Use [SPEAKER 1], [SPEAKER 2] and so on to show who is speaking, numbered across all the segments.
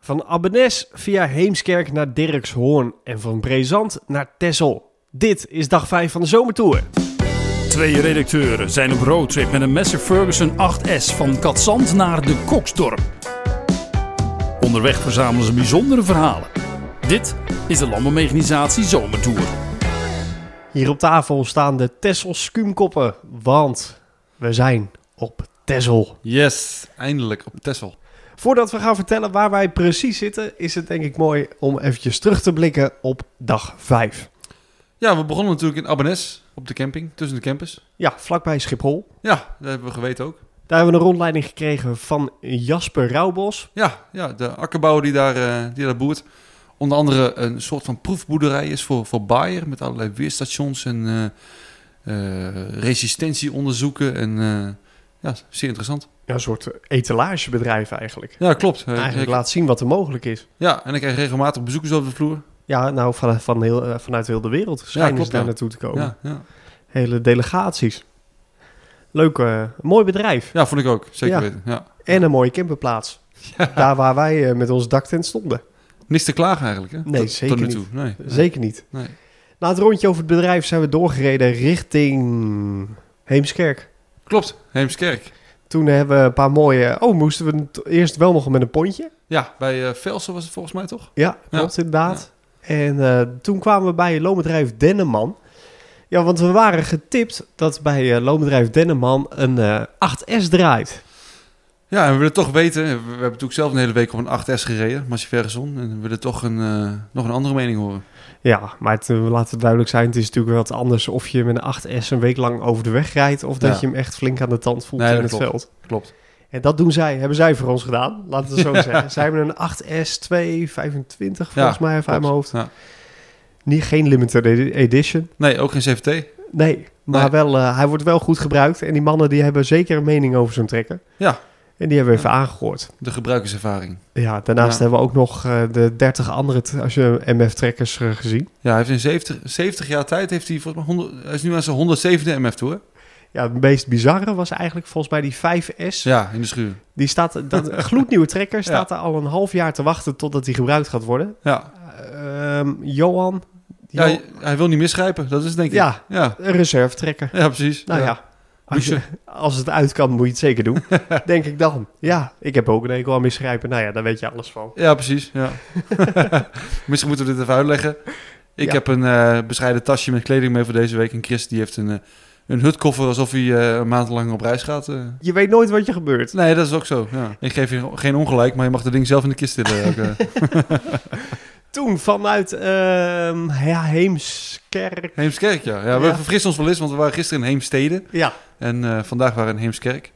[SPEAKER 1] Van Abbenes via Heemskerk naar Dirkshoorn en van Brezand naar Tessel. Dit is dag 5 van de zomertour.
[SPEAKER 2] Twee redacteuren zijn op roadtrip met een Messer Ferguson 8S van Katzand naar de Koksdorp. Onderweg verzamelen ze bijzondere verhalen. Dit is de Landbouwmechanisatie Zomertour.
[SPEAKER 1] Hier op tafel staan de Tessel skuumkoppen, want we zijn op Tessel.
[SPEAKER 3] Yes, eindelijk op Tessel.
[SPEAKER 1] Voordat we gaan vertellen waar wij precies zitten, is het denk ik mooi om eventjes terug te blikken op dag 5.
[SPEAKER 3] Ja, we begonnen natuurlijk in Abbenes, op de camping, tussen de campers.
[SPEAKER 1] Ja, vlakbij Schiphol.
[SPEAKER 3] Ja, dat hebben we geweten ook.
[SPEAKER 1] Daar hebben we een rondleiding gekregen van Jasper Rauwbos.
[SPEAKER 3] Ja, ja de akkerbouwer die daar, eh, die daar boert. Onder andere een soort van proefboerderij is voor, voor Bayer, met allerlei weerstations en eh, eh, resistentieonderzoeken. En eh, ja, zeer interessant.
[SPEAKER 1] Ja, een soort etalagebedrijf eigenlijk.
[SPEAKER 3] Ja, klopt. Eh,
[SPEAKER 1] Eigenlijk
[SPEAKER 3] ik-
[SPEAKER 1] laat zien wat er mogelijk is.
[SPEAKER 3] ja, en ik krijg regelmatig bezoekers over de vloer.
[SPEAKER 1] Ja, nou van, van heel, eh, vanuit heel de wereld schijnen
[SPEAKER 3] klopt,
[SPEAKER 1] ze daar
[SPEAKER 3] ja.
[SPEAKER 1] naartoe te komen.
[SPEAKER 3] Ja, ja.
[SPEAKER 1] Hele delegaties. Leuk, eh, mooi bedrijf.
[SPEAKER 3] ja, vond ik ook. Zeker
[SPEAKER 1] Ja.
[SPEAKER 3] weten. Ja.
[SPEAKER 1] En een mooie camperplaats. Daar waar wij eh, met ons daktent stonden.
[SPEAKER 3] Niks te klagen eigenlijk, hè?
[SPEAKER 1] Nee,
[SPEAKER 3] Tot-
[SPEAKER 1] zeker
[SPEAKER 3] tot nu
[SPEAKER 1] niet.
[SPEAKER 3] toe. Nee.
[SPEAKER 1] Zeker niet.
[SPEAKER 3] Nee.
[SPEAKER 1] Na het rondje over het bedrijf zijn we doorgereden richting Heemskerk.
[SPEAKER 3] Klopt, Heemskerk.
[SPEAKER 1] Toen hebben we een paar mooie... Oh, moesten we t- eerst wel nog met een pontje?
[SPEAKER 3] Ja, bij eh Velsen was het volgens mij toch?
[SPEAKER 1] Ja, klopt inderdaad. En eh, toen kwamen we bij loonbedrijf Denneman. Ja, want we waren getipt dat bij eh loonbedrijf Denneman een eh, 8S draait.
[SPEAKER 3] Ja, en we willen toch weten. We we hebben natuurlijk zelf een hele week op een 8S gereden, Massie Ferguson. En we willen toch een, eh, nog een andere mening horen.
[SPEAKER 1] Ja, maar het, eh, laten we duidelijk zijn, het is natuurlijk wel wat anders of je met een 8S een week lang over de weg rijdt of dat
[SPEAKER 3] Ja.
[SPEAKER 1] je hem echt flink aan de tand voelt
[SPEAKER 3] Nee,
[SPEAKER 1] in
[SPEAKER 3] dat
[SPEAKER 1] het
[SPEAKER 3] klopt.
[SPEAKER 1] veld.
[SPEAKER 3] Klopt.
[SPEAKER 1] En dat doen zij, hebben zij voor ons gedaan, laten we het zo zeggen. Zij hebben een 8S 225 volgens mij even uit mijn hoofd.
[SPEAKER 3] Ja.
[SPEAKER 1] Niet, geen limited edi- edition.
[SPEAKER 3] Nee, ook geen CVT.
[SPEAKER 1] Nee, maar
[SPEAKER 3] Nee.
[SPEAKER 1] Wel, eh, hij wordt wel goed gebruikt. En die mannen die hebben zeker een mening over zo'n trekker.
[SPEAKER 3] Ja.
[SPEAKER 1] En die hebben we even aangehoord.
[SPEAKER 3] De gebruikerservaring.
[SPEAKER 1] Ja, daarnaast
[SPEAKER 3] Ja.
[SPEAKER 1] hebben we ook nog eh, de 30 andere t- als je MF-trekkers eh, gezien.
[SPEAKER 3] Ja, hij heeft in 70, 70 jaar tijd, heeft hij, volgens mij 100, hij is nu aan zijn 107e MF toe, hè?
[SPEAKER 1] Ja, het meest bizarre was eigenlijk volgens mij die 5S.
[SPEAKER 3] Ja, in de schuur.
[SPEAKER 1] Die staat, dat gloednieuwe trekker staat er al een half jaar te wachten totdat die gebruikt gaat worden.
[SPEAKER 3] Ja.
[SPEAKER 1] Ehm, Johan,
[SPEAKER 3] ja
[SPEAKER 1] Jo-
[SPEAKER 3] hij, hij wil niet misgrijpen, dat is het denk ik.
[SPEAKER 1] Ja.
[SPEAKER 3] Ja,
[SPEAKER 1] een reservetrekker.
[SPEAKER 3] ja precies.
[SPEAKER 1] Nou ja, als,
[SPEAKER 3] Moet je-
[SPEAKER 1] je, als het uit kan moet je het zeker doen, denk ik dan. Ja, ik heb ook een enkel aan misgrijpen. Nou ja, daar weet je alles van.
[SPEAKER 3] Ja, precies. Ja. Misschien moeten we dit even uitleggen. Ik
[SPEAKER 1] Ja.
[SPEAKER 3] heb een eh, bescheiden tasje met kleding mee voor deze week. En Chris die heeft een, eh, een hutkoffer alsof hij eh, een maand lang op reis gaat. eh.
[SPEAKER 1] Je weet nooit wat je gebeurt.
[SPEAKER 3] Nee, dat is ook zo. Ja. Ik geef je geen ongelijk, maar je mag dat ding zelf in de kist tillen. ook, eh.
[SPEAKER 1] Toen vanuit ehm, ja, Heemskerk.
[SPEAKER 3] Heemskerk, ja. ja we
[SPEAKER 1] Ja.
[SPEAKER 3] vergissen ons wel eens, want we waren gisteren in Heemstede.
[SPEAKER 1] Ja,
[SPEAKER 3] En eh, vandaag waren we in Heemskerk.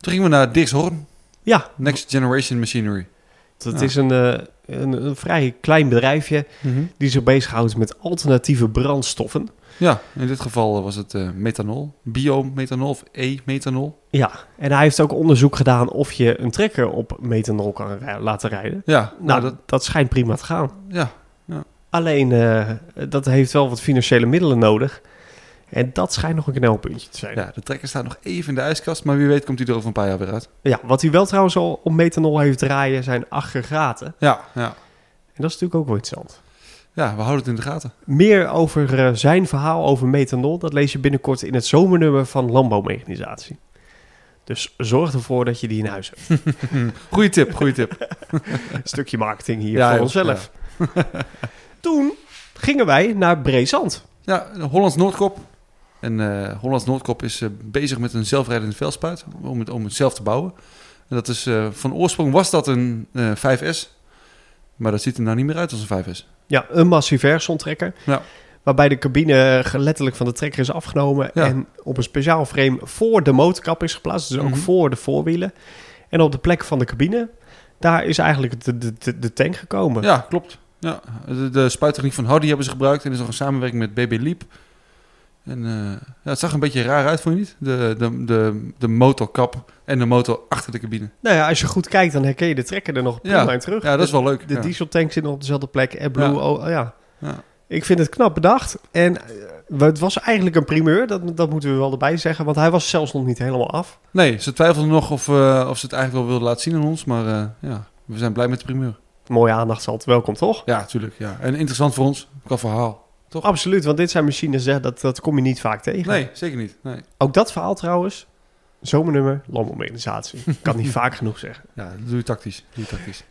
[SPEAKER 3] Toen gingen we naar Dirkshorn,
[SPEAKER 1] ja
[SPEAKER 3] Next Generation Machinery.
[SPEAKER 1] dat
[SPEAKER 3] Ja.
[SPEAKER 1] is een, eh, een, een vrij klein bedrijfje
[SPEAKER 3] Mhm.
[SPEAKER 1] die zich bezighoudt met alternatieve brandstoffen.
[SPEAKER 3] Ja, in dit geval eh, was het eh, methanol, biomethanol of e-methanol.
[SPEAKER 1] Ja, en hij heeft ook onderzoek gedaan of je een trekker op methanol kan rij- laten rijden.
[SPEAKER 3] Ja, nou,
[SPEAKER 1] Nou,
[SPEAKER 3] dat,
[SPEAKER 1] dat, dat schijnt prima te gaan.
[SPEAKER 3] ja,
[SPEAKER 1] Alleen, eh, dat heeft wel wat financiële middelen nodig. En dat schijnt nog een knelpuntje te zijn. Ja,
[SPEAKER 3] Ja, de trekker staat nog even in de ijskast, maar wie weet komt hij er over een paar jaar weer uit.
[SPEAKER 1] wat hij wel trouwens al op methanol heeft draaien zijn aggregaten.
[SPEAKER 3] Ja, ja.
[SPEAKER 1] En dat is natuurlijk ook wel interessant.
[SPEAKER 3] ja we houden het in de gaten.
[SPEAKER 1] Meer over eh, zijn verhaal over methanol, dat lees je binnenkort in het zomernummer van Landbouwmechanisatie. Dus zorg ervoor dat je die in huis hebt.
[SPEAKER 3] Goeie tip, goede tip.
[SPEAKER 1] Een stukje marketing hier
[SPEAKER 3] Ja,
[SPEAKER 1] voor
[SPEAKER 3] joh,
[SPEAKER 1] onszelf. Toen gingen wij naar Brezand.
[SPEAKER 3] Ja, Hollands Noordkop. En eh, Hollands Noordkop is eh, bezig met een zelfrijdende veldspuit om het, om het zelf te bouwen. En dat is, eh, van oorsprong was dat een eh, 5S, maar dat ziet er nou niet meer uit als een 5S.
[SPEAKER 1] Ja, een massiverson trekker.
[SPEAKER 3] Ja.
[SPEAKER 1] Waarbij de cabine eh, letterlijk van de trekker is afgenomen.
[SPEAKER 3] Ja.
[SPEAKER 1] En op een speciaal frame voor de motorkap is geplaatst. Dus ook
[SPEAKER 3] Mhm.
[SPEAKER 1] voor de voorwielen. En op de plek van de cabine, daar is eigenlijk de, de, de, de tank gekomen.
[SPEAKER 3] Ja, klopt. Ja, de, de spuittechniek van Howdy hebben ze gebruikt en is nog een samenwerking met BB Leap. En eh, ja, het zag een beetje raar uit, vond je niet? De, de, de, de motorkap en de motor achter de cabine.
[SPEAKER 1] Nou ja, als je goed kijkt, dan herken je de trekker er nog prima in terug.
[SPEAKER 3] Ja, dat is wel leuk.
[SPEAKER 1] De
[SPEAKER 3] ja.
[SPEAKER 1] dieseltank zit nog op dezelfde plek. AirBlue,
[SPEAKER 3] Ja.
[SPEAKER 1] ja. Oh, ja.
[SPEAKER 3] Ja.
[SPEAKER 1] Ik vind het knap bedacht. En eh, het was eigenlijk een primeur, dat, dat moeten we wel erbij zeggen. Want hij was zelfs nog niet helemaal af.
[SPEAKER 3] Nee, ze twijfelden nog of, eh, of ze het eigenlijk wel wilden laten zien aan ons. Maar eh, ja, we zijn blij met de primeur.
[SPEAKER 1] mooie aandacht is altijd welkom, toch?
[SPEAKER 3] Ja, natuurlijk. Ja. En interessant voor ons, qua verhaal. Toch?
[SPEAKER 1] Absoluut, want dit zijn machines, hè, dat, dat kom je niet vaak tegen.
[SPEAKER 3] Nee, zeker niet. Nee.
[SPEAKER 1] Ook dat verhaal trouwens, zomernummer, landbouworganisatie. kan niet vaak genoeg zeggen.
[SPEAKER 3] Ja, dat doe je tactisch. Doe je tactisch.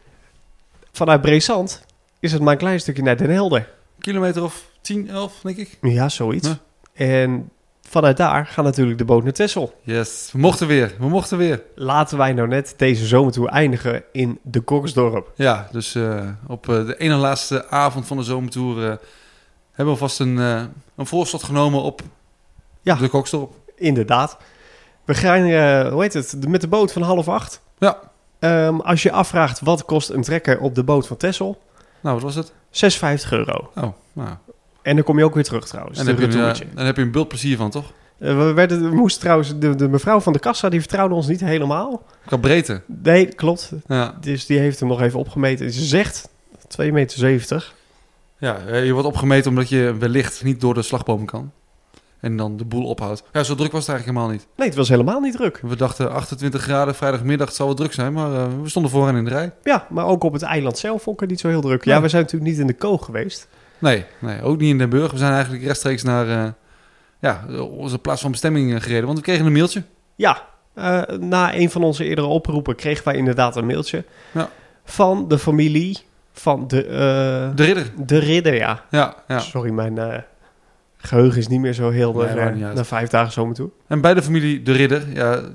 [SPEAKER 1] Vanuit Brezand is het maar een klein stukje naar Den Helder.
[SPEAKER 3] Kilometer of 10, 11, denk ik.
[SPEAKER 1] Ja, zoiets. En vanuit daar gaat natuurlijk de boot naar Texel.
[SPEAKER 3] Yes, we mochten weer. We mochten weer.
[SPEAKER 1] Laten wij nou net deze zomertour eindigen in de Koksdorp.
[SPEAKER 3] Ja, dus eh, op eh, de ene laatste avond van de zomertour eh, hebben we vast een, eh, een voorstot genomen op
[SPEAKER 1] Ja.
[SPEAKER 3] de kokstorp.
[SPEAKER 1] Inderdaad. We gaan, eh, hoe heet het, de- met de boot van half acht.
[SPEAKER 3] Ja.
[SPEAKER 1] Ehm, als je afvraagt wat kost een trekker op de boot van Texel,
[SPEAKER 3] Nou, wat was het?
[SPEAKER 1] 56 euro.
[SPEAKER 3] Oh, nou.
[SPEAKER 1] En dan kom je ook weer terug trouwens.
[SPEAKER 3] En
[SPEAKER 1] de
[SPEAKER 3] dan heb, je, een,
[SPEAKER 1] retourtje.
[SPEAKER 3] eh, dan heb je een bult plezier van, toch?
[SPEAKER 1] Eh, we, werden, we moesten trouwens, de, de mevrouw van de kassa, die vertrouwde ons niet helemaal.
[SPEAKER 3] Qua breedte.
[SPEAKER 1] Nee, klopt.
[SPEAKER 3] Ja,
[SPEAKER 1] Dus die heeft hem nog even opgemeten. En ze zegt 2,70 meter.
[SPEAKER 3] ja eh, je wordt opgemeten omdat je wellicht niet door de slagbomen kan. En dan de boel ophoudt. Ja, zo druk was het eigenlijk helemaal niet.
[SPEAKER 1] Nee, het was helemaal niet druk.
[SPEAKER 3] We dachten 28 graden, vrijdagmiddag het zal wel druk zijn, maar eh, we stonden vooraan in de rij.
[SPEAKER 1] Ja, maar ook op het eiland zelf vond ik het niet zo heel druk. Ja,
[SPEAKER 3] Nee.
[SPEAKER 1] we zijn natuurlijk niet in de koog geweest.
[SPEAKER 3] Nee, nee, ook niet in Den Burg. We zijn eigenlijk rechtstreeks naar eh, ja, onze plaats van bestemming eh, gereden, want we kregen een mailtje.
[SPEAKER 1] Ja, eh, na een van onze eerdere oproepen kregen wij inderdaad een mailtje.
[SPEAKER 3] Ja.
[SPEAKER 1] Van de familie van de, eh, de...
[SPEAKER 3] De ridder.
[SPEAKER 1] ridder, ja.
[SPEAKER 3] Ja, ja.
[SPEAKER 1] Sorry, mijn eh, geheugen is niet meer zo heel
[SPEAKER 3] Nee,
[SPEAKER 1] naar, eh,
[SPEAKER 3] maakt niet uit.
[SPEAKER 1] naar vijf dagen zomer toe.
[SPEAKER 3] En bij de familie De Ridder, ja, er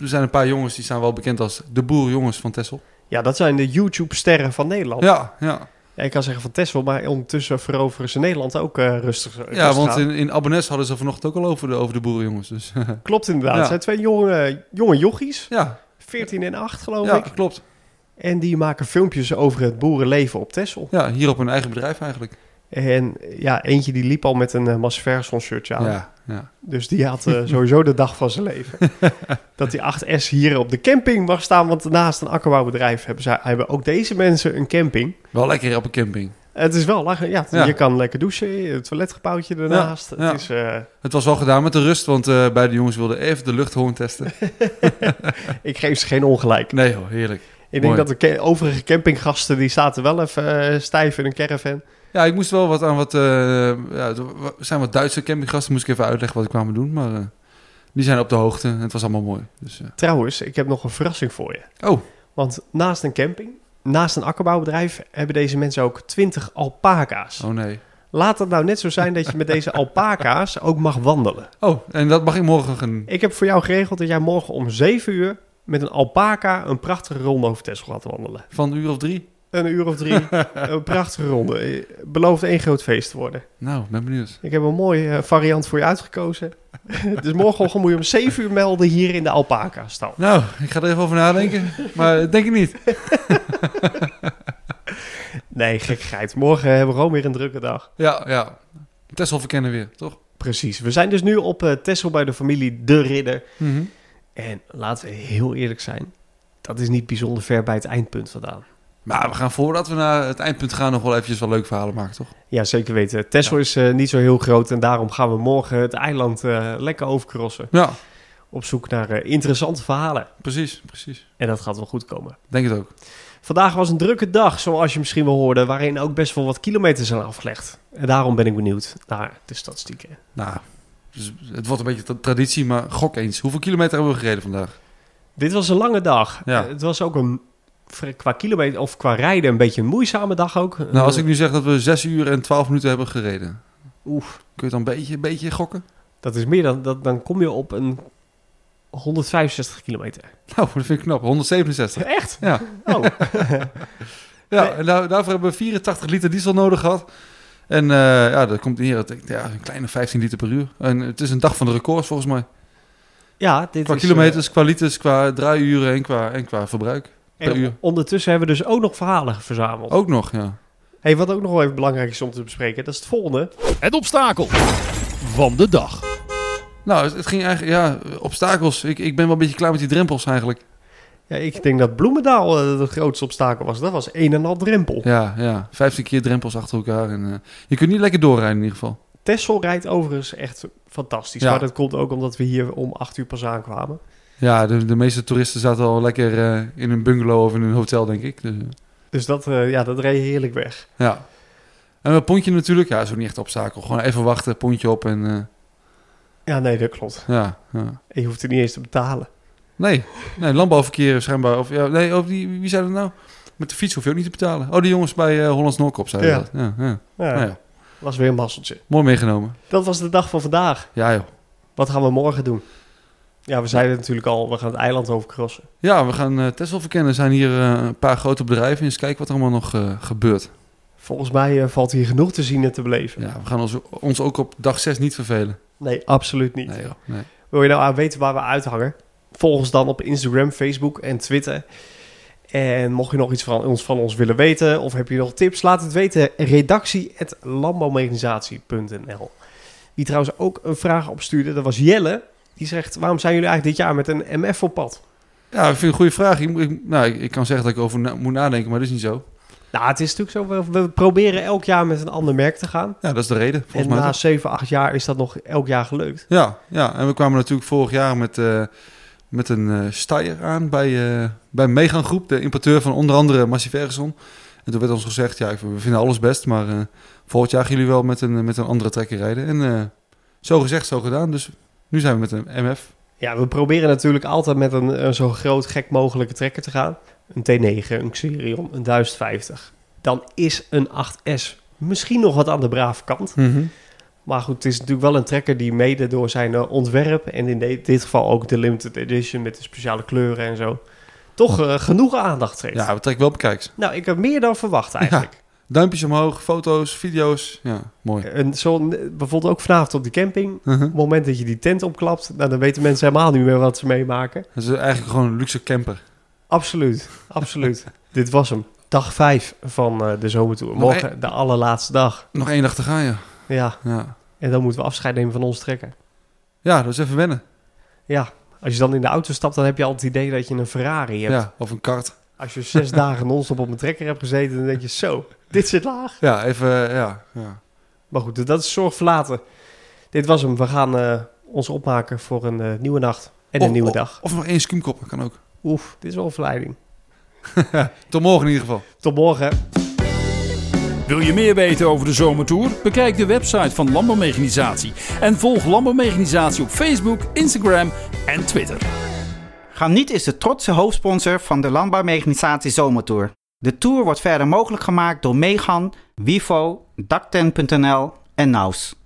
[SPEAKER 3] zijn een paar jongens die staan wel bekend als de boerjongens van Tessel.
[SPEAKER 1] Ja, dat zijn de YouTube-sterren van Nederland.
[SPEAKER 3] Ja, ja.
[SPEAKER 1] Ja, ik kan zeggen van Tesla, maar ondertussen veroveren ze Nederland ook eh, rustig.
[SPEAKER 3] ja
[SPEAKER 1] rustig
[SPEAKER 3] want
[SPEAKER 1] aan.
[SPEAKER 3] in, in Abonnes hadden ze vanochtend ook al over de, over de boerenjongens. Dus
[SPEAKER 1] Klopt inderdaad.
[SPEAKER 3] Ja.
[SPEAKER 1] Het zijn twee jonge, jonge jochies,
[SPEAKER 3] ja,
[SPEAKER 1] 14 en 8 geloof
[SPEAKER 3] ja
[SPEAKER 1] Oh, ik.
[SPEAKER 3] klopt.
[SPEAKER 1] En die maken filmpjes over het boerenleven op Texel.
[SPEAKER 3] Ja, hier op hun eigen bedrijf eigenlijk.
[SPEAKER 1] En ja, eentje die liep al met een uh, Masverson shirtje aan.
[SPEAKER 3] ja. ja.
[SPEAKER 1] Dus die had eh, sowieso de dag van zijn leven. dat die 8S hier op de camping mag staan. Want naast een akkerbouwbedrijf hebben, zij, hebben ook deze mensen een camping.
[SPEAKER 3] Wel lekker op een camping.
[SPEAKER 1] Het is wel lachen. Ja,
[SPEAKER 3] Ja.
[SPEAKER 1] je kan lekker douchen. Het toiletgebouwtje ernaast.
[SPEAKER 3] ja.
[SPEAKER 1] Het is, eh,
[SPEAKER 3] Het was wel gedaan met de rust, want eh, beide jongens wilden even de luchthoorn testen.
[SPEAKER 1] ik geef ze geen ongelijk.
[SPEAKER 3] Nee hoor, heerlijk.
[SPEAKER 1] Ik denk
[SPEAKER 3] Mooi.
[SPEAKER 1] dat de ca- overige campinggasten, die zaten wel even eh, stijf in een caravan.
[SPEAKER 3] Ja, ik moest wel wat aan wat... eh, ja, er zijn wat Duitse campinggasten, moest ik even uitleggen wat ik kwamen doen. Maar eh, die zijn op de hoogte en het was allemaal mooi. Dus, eh,
[SPEAKER 1] Trouwens, ik heb nog een verrassing voor je.
[SPEAKER 3] Oh.
[SPEAKER 1] Want naast een camping, naast een akkerbouwbedrijf, hebben deze mensen ook 20 alpaca's.
[SPEAKER 3] oh nee.
[SPEAKER 1] Laat het nou net zo zijn dat je met deze alpaca's ook mag wandelen.
[SPEAKER 3] Oh, en dat mag ik morgen gaan...
[SPEAKER 1] Ik heb voor jou geregeld dat jij morgen om 7 uur met een alpaca een prachtige ronde over Texel gaat wandelen.
[SPEAKER 3] Van een uur of drie?
[SPEAKER 1] Een uur of drie, een prachtige ronde. Eh, Belooft één groot feest te worden.
[SPEAKER 3] Nou, ben benieuwd.
[SPEAKER 1] Ik heb een mooie eh, variant voor je uitgekozen. dus morgenochtend moet je om 7 uur melden hier in de Alpaca-stal.
[SPEAKER 3] Nou, ik ga er even over nadenken, maar dat denk ik niet.
[SPEAKER 1] Nee, gekkigheid. Morgen hebben we gewoon weer een drukke dag.
[SPEAKER 3] Ja, ja. Tessel verkennen weer, toch?
[SPEAKER 1] Precies. We zijn dus nu op eh Texel bij de familie De Ridder.
[SPEAKER 3] Mhm.
[SPEAKER 1] En laten we heel eerlijk zijn. Dat is niet bijzonder ver bij het eindpunt vandaan.
[SPEAKER 3] Maar we gaan voordat we naar het eindpunt gaan nog wel eventjes wat leuke verhalen maken, toch?
[SPEAKER 1] Ja, zeker weten. Texel is eh, niet zo heel groot en daarom gaan we morgen het eiland eh, lekker overcrossen.
[SPEAKER 3] Ja,
[SPEAKER 1] Op zoek naar eh, interessante verhalen.
[SPEAKER 3] precies, precies.
[SPEAKER 1] En dat gaat wel goed komen.
[SPEAKER 3] Denk het ook.
[SPEAKER 1] Vandaag was een drukke dag, zoals je misschien wel hoorde, waarin ook best wel wat kilometers zijn afgelegd. En daarom ben ik benieuwd naar de statistieken.
[SPEAKER 3] Nou, dus het wordt een beetje tra- traditie, maar gok eens. Hoeveel kilometer hebben we gereden vandaag?
[SPEAKER 1] Dit was een lange dag.
[SPEAKER 3] Ja.
[SPEAKER 1] Eh, Het was ook een vre- qua kilometer of qua rijden een beetje een moeizame dag ook.
[SPEAKER 3] Nou, als ik nu zeg dat we 6 uur en 12 minuten hebben gereden.
[SPEAKER 1] Oef.
[SPEAKER 3] Kun je het dan een beetje, een beetje gokken?
[SPEAKER 1] Dat is meer dan dat, dan kom je op een 165 kilometer.
[SPEAKER 3] Nou, dat vind ik knap. 167.
[SPEAKER 1] Echt?
[SPEAKER 3] Ja.
[SPEAKER 1] Oh,
[SPEAKER 3] Ja, en daar- daarvoor hebben we 84 liter diesel nodig gehad. En eh, ja, dat komt neer dat ik- ja, een kleine 15 liter per uur. En het is een dag van de records volgens mij.
[SPEAKER 1] ja, dit
[SPEAKER 3] Qua
[SPEAKER 1] is, eh,
[SPEAKER 3] kilometers, qua liters, qua draaiuren en qua, en qua verbruik.
[SPEAKER 1] eh, en
[SPEAKER 3] per uur. Oh.
[SPEAKER 1] ondertussen hebben we dus ook nog verhalen verzameld.
[SPEAKER 3] Ook nog, ja.
[SPEAKER 1] Hey, wat ook nog wel even belangrijk is om te bespreken, dat is het volgende.
[SPEAKER 2] Het obstakel van de dag.
[SPEAKER 3] Nou, het, het ging eigenlijk, ja, obstakels. Ik, ik ben wel een beetje klaar met die drempels eigenlijk.
[SPEAKER 1] Ja, ik denk dat Bloemendaal eh, het grootste obstakel was. Dat was een en al drempel.
[SPEAKER 3] Ja, ja. 15 keer drempels achter elkaar. En, eh, je kunt niet lekker doorrijden in ieder geval.
[SPEAKER 1] Tessel rijdt overigens echt fantastisch.
[SPEAKER 3] Ja.
[SPEAKER 1] Maar dat komt ook omdat we hier om acht uur pas aankwamen.
[SPEAKER 3] Ja, de, de meeste toeristen zaten al lekker eh, in een bungalow of in een hotel, denk ik. Dus, eh,
[SPEAKER 1] Dus dat, eh, ja, dat reed heerlijk weg.
[SPEAKER 3] Ja. En dat pontje natuurlijk, ja, is ook niet echt een obstakel. Gewoon even wachten, pontje op en eh,
[SPEAKER 1] Ja, nee, dat klopt.
[SPEAKER 3] ja, ja.
[SPEAKER 1] En je hoeft er niet eens te betalen.
[SPEAKER 3] Nee, nee, landbouwverkeer is schijnbaar. Of, ja, nee, of die, wie zei dat nou? Met de fiets hoef je ook niet te betalen. Oh, die jongens bij eh, Hollands Noordkop zeiden
[SPEAKER 1] Ja.
[SPEAKER 3] dat. Ja, ja.
[SPEAKER 1] Ja,
[SPEAKER 3] Nou ja,
[SPEAKER 1] was weer een masseltje.
[SPEAKER 3] mooi meegenomen.
[SPEAKER 1] Dat was de dag van vandaag.
[SPEAKER 3] Ja, joh.
[SPEAKER 1] Wat gaan we morgen doen? Ja, we zeiden natuurlijk al, we gaan het eiland overcrossen.
[SPEAKER 3] Ja, we gaan eh Texel verkennen. Er zijn hier eh, een paar grote bedrijven. Eens kijken wat er allemaal nog eh, gebeurt.
[SPEAKER 1] Volgens mij eh, valt hier genoeg te zien en te beleven.
[SPEAKER 3] Ja, we gaan ons, ons ook op dag 6 niet vervelen.
[SPEAKER 1] Nee, absoluut niet.
[SPEAKER 3] Nee, joh. Nee.
[SPEAKER 1] Wil je nou aan weten waar we uithangen? Volg ons dan op Instagram, Facebook en Twitter. En mocht je nog iets van ons, van ons willen weten of heb je nog tips, laat het weten. Redactie@landbouwmechanisatie.nl. Die trouwens ook een vraag opstuurde, dat was Jelle. Die zegt, waarom zijn jullie eigenlijk dit jaar met een MF op pad?
[SPEAKER 3] Ja, ik vind het een goede vraag. Ik, moet- ik- nou, ik, ik kan zeggen dat ik over na- moet nadenken, maar dat is niet zo.
[SPEAKER 1] Nou, het is natuurlijk zo, we, we proberen elk jaar met een ander merk te gaan.
[SPEAKER 3] Ja, dat is de reden, volgens
[SPEAKER 1] en
[SPEAKER 3] mij.
[SPEAKER 1] na
[SPEAKER 3] toch?
[SPEAKER 1] 7, 8 jaar is dat nog elk jaar gelukt.
[SPEAKER 3] Ja, ja, en we kwamen natuurlijk vorig jaar met, eh, met een eh steier aan bij, eh, bij Megan Groep, de importeur van onder andere Massey Ferguson. En toen werd ons gezegd, ja, ik- we vinden alles best, maar eh, volgend jaar gaan jullie wel met een, eh, met een andere trekker rijden. En eh, zo gezegd, zo gedaan. Dus nu zijn we met een MF.
[SPEAKER 1] Ja, we proberen natuurlijk altijd met een, een zo groot gek mogelijke trekker te gaan. Een T9, een Xerion, een 1050. Dan is een 8S misschien nog wat aan de brave kant. Maar goed, het is natuurlijk wel een trekker die mede door zijn eh, ontwerp... en in de- dit geval ook de limited edition met de speciale kleuren en zo... toch eh, genoeg aandacht trekt.
[SPEAKER 3] Ja, we trekken wel bekijks.
[SPEAKER 1] Nou, ik heb meer dan verwacht eigenlijk.
[SPEAKER 3] Duimpjes omhoog, foto's, video's. Ja, mooi.
[SPEAKER 1] En zo, eh, bijvoorbeeld ook vanavond op de camping...
[SPEAKER 3] Mhm.
[SPEAKER 1] op het moment dat je die tent opklapt... Nou, dan weten mensen helemaal niet meer wat ze meemaken.
[SPEAKER 3] Dat is eigenlijk gewoon een luxe camper.
[SPEAKER 1] Absoluut, absoluut. Dit was hem. Dag 5 van eh, de zomertour.
[SPEAKER 3] Maar
[SPEAKER 1] Morgen de allerlaatste dag.
[SPEAKER 3] Nog één dag te gaan, ja.
[SPEAKER 1] Ja,
[SPEAKER 3] Ja,
[SPEAKER 1] en dan moeten we afscheid nemen van ons trekken.
[SPEAKER 3] ja dat is even wennen.
[SPEAKER 1] Ja, als je dan in de auto stapt, dan heb je al het idee dat je een Ferrari hebt.
[SPEAKER 3] Ja, of een kart.
[SPEAKER 1] Als je zes dagen non-stop op een trekker hebt gezeten, dan denk je zo, dit zit laag.
[SPEAKER 3] Ja, even, eh, ja. ja.
[SPEAKER 1] Maar goed, dat is zorg verlaten. Dit was hem. We gaan eh, ons opmaken voor een eh, nieuwe nacht en een
[SPEAKER 3] Of-
[SPEAKER 1] nieuwe
[SPEAKER 3] of-
[SPEAKER 1] dag.
[SPEAKER 3] Of nog één skuumkop, kan ook.
[SPEAKER 1] Oef, dit is wel een verleiding.
[SPEAKER 3] Tot morgen in ieder geval.
[SPEAKER 1] Tot morgen.
[SPEAKER 2] Wil je meer weten over de zomertour? Bekijk de website van Landbouwmechanisatie en volg Landbouwmechanisatie op Facebook, Instagram en Twitter.
[SPEAKER 4] Granit is de trotse hoofdsponsor van de Landbouwmechanisatie Zomertour. De tour wordt verder mogelijk gemaakt door Megan, Wivo, Dakten.nl en Naus.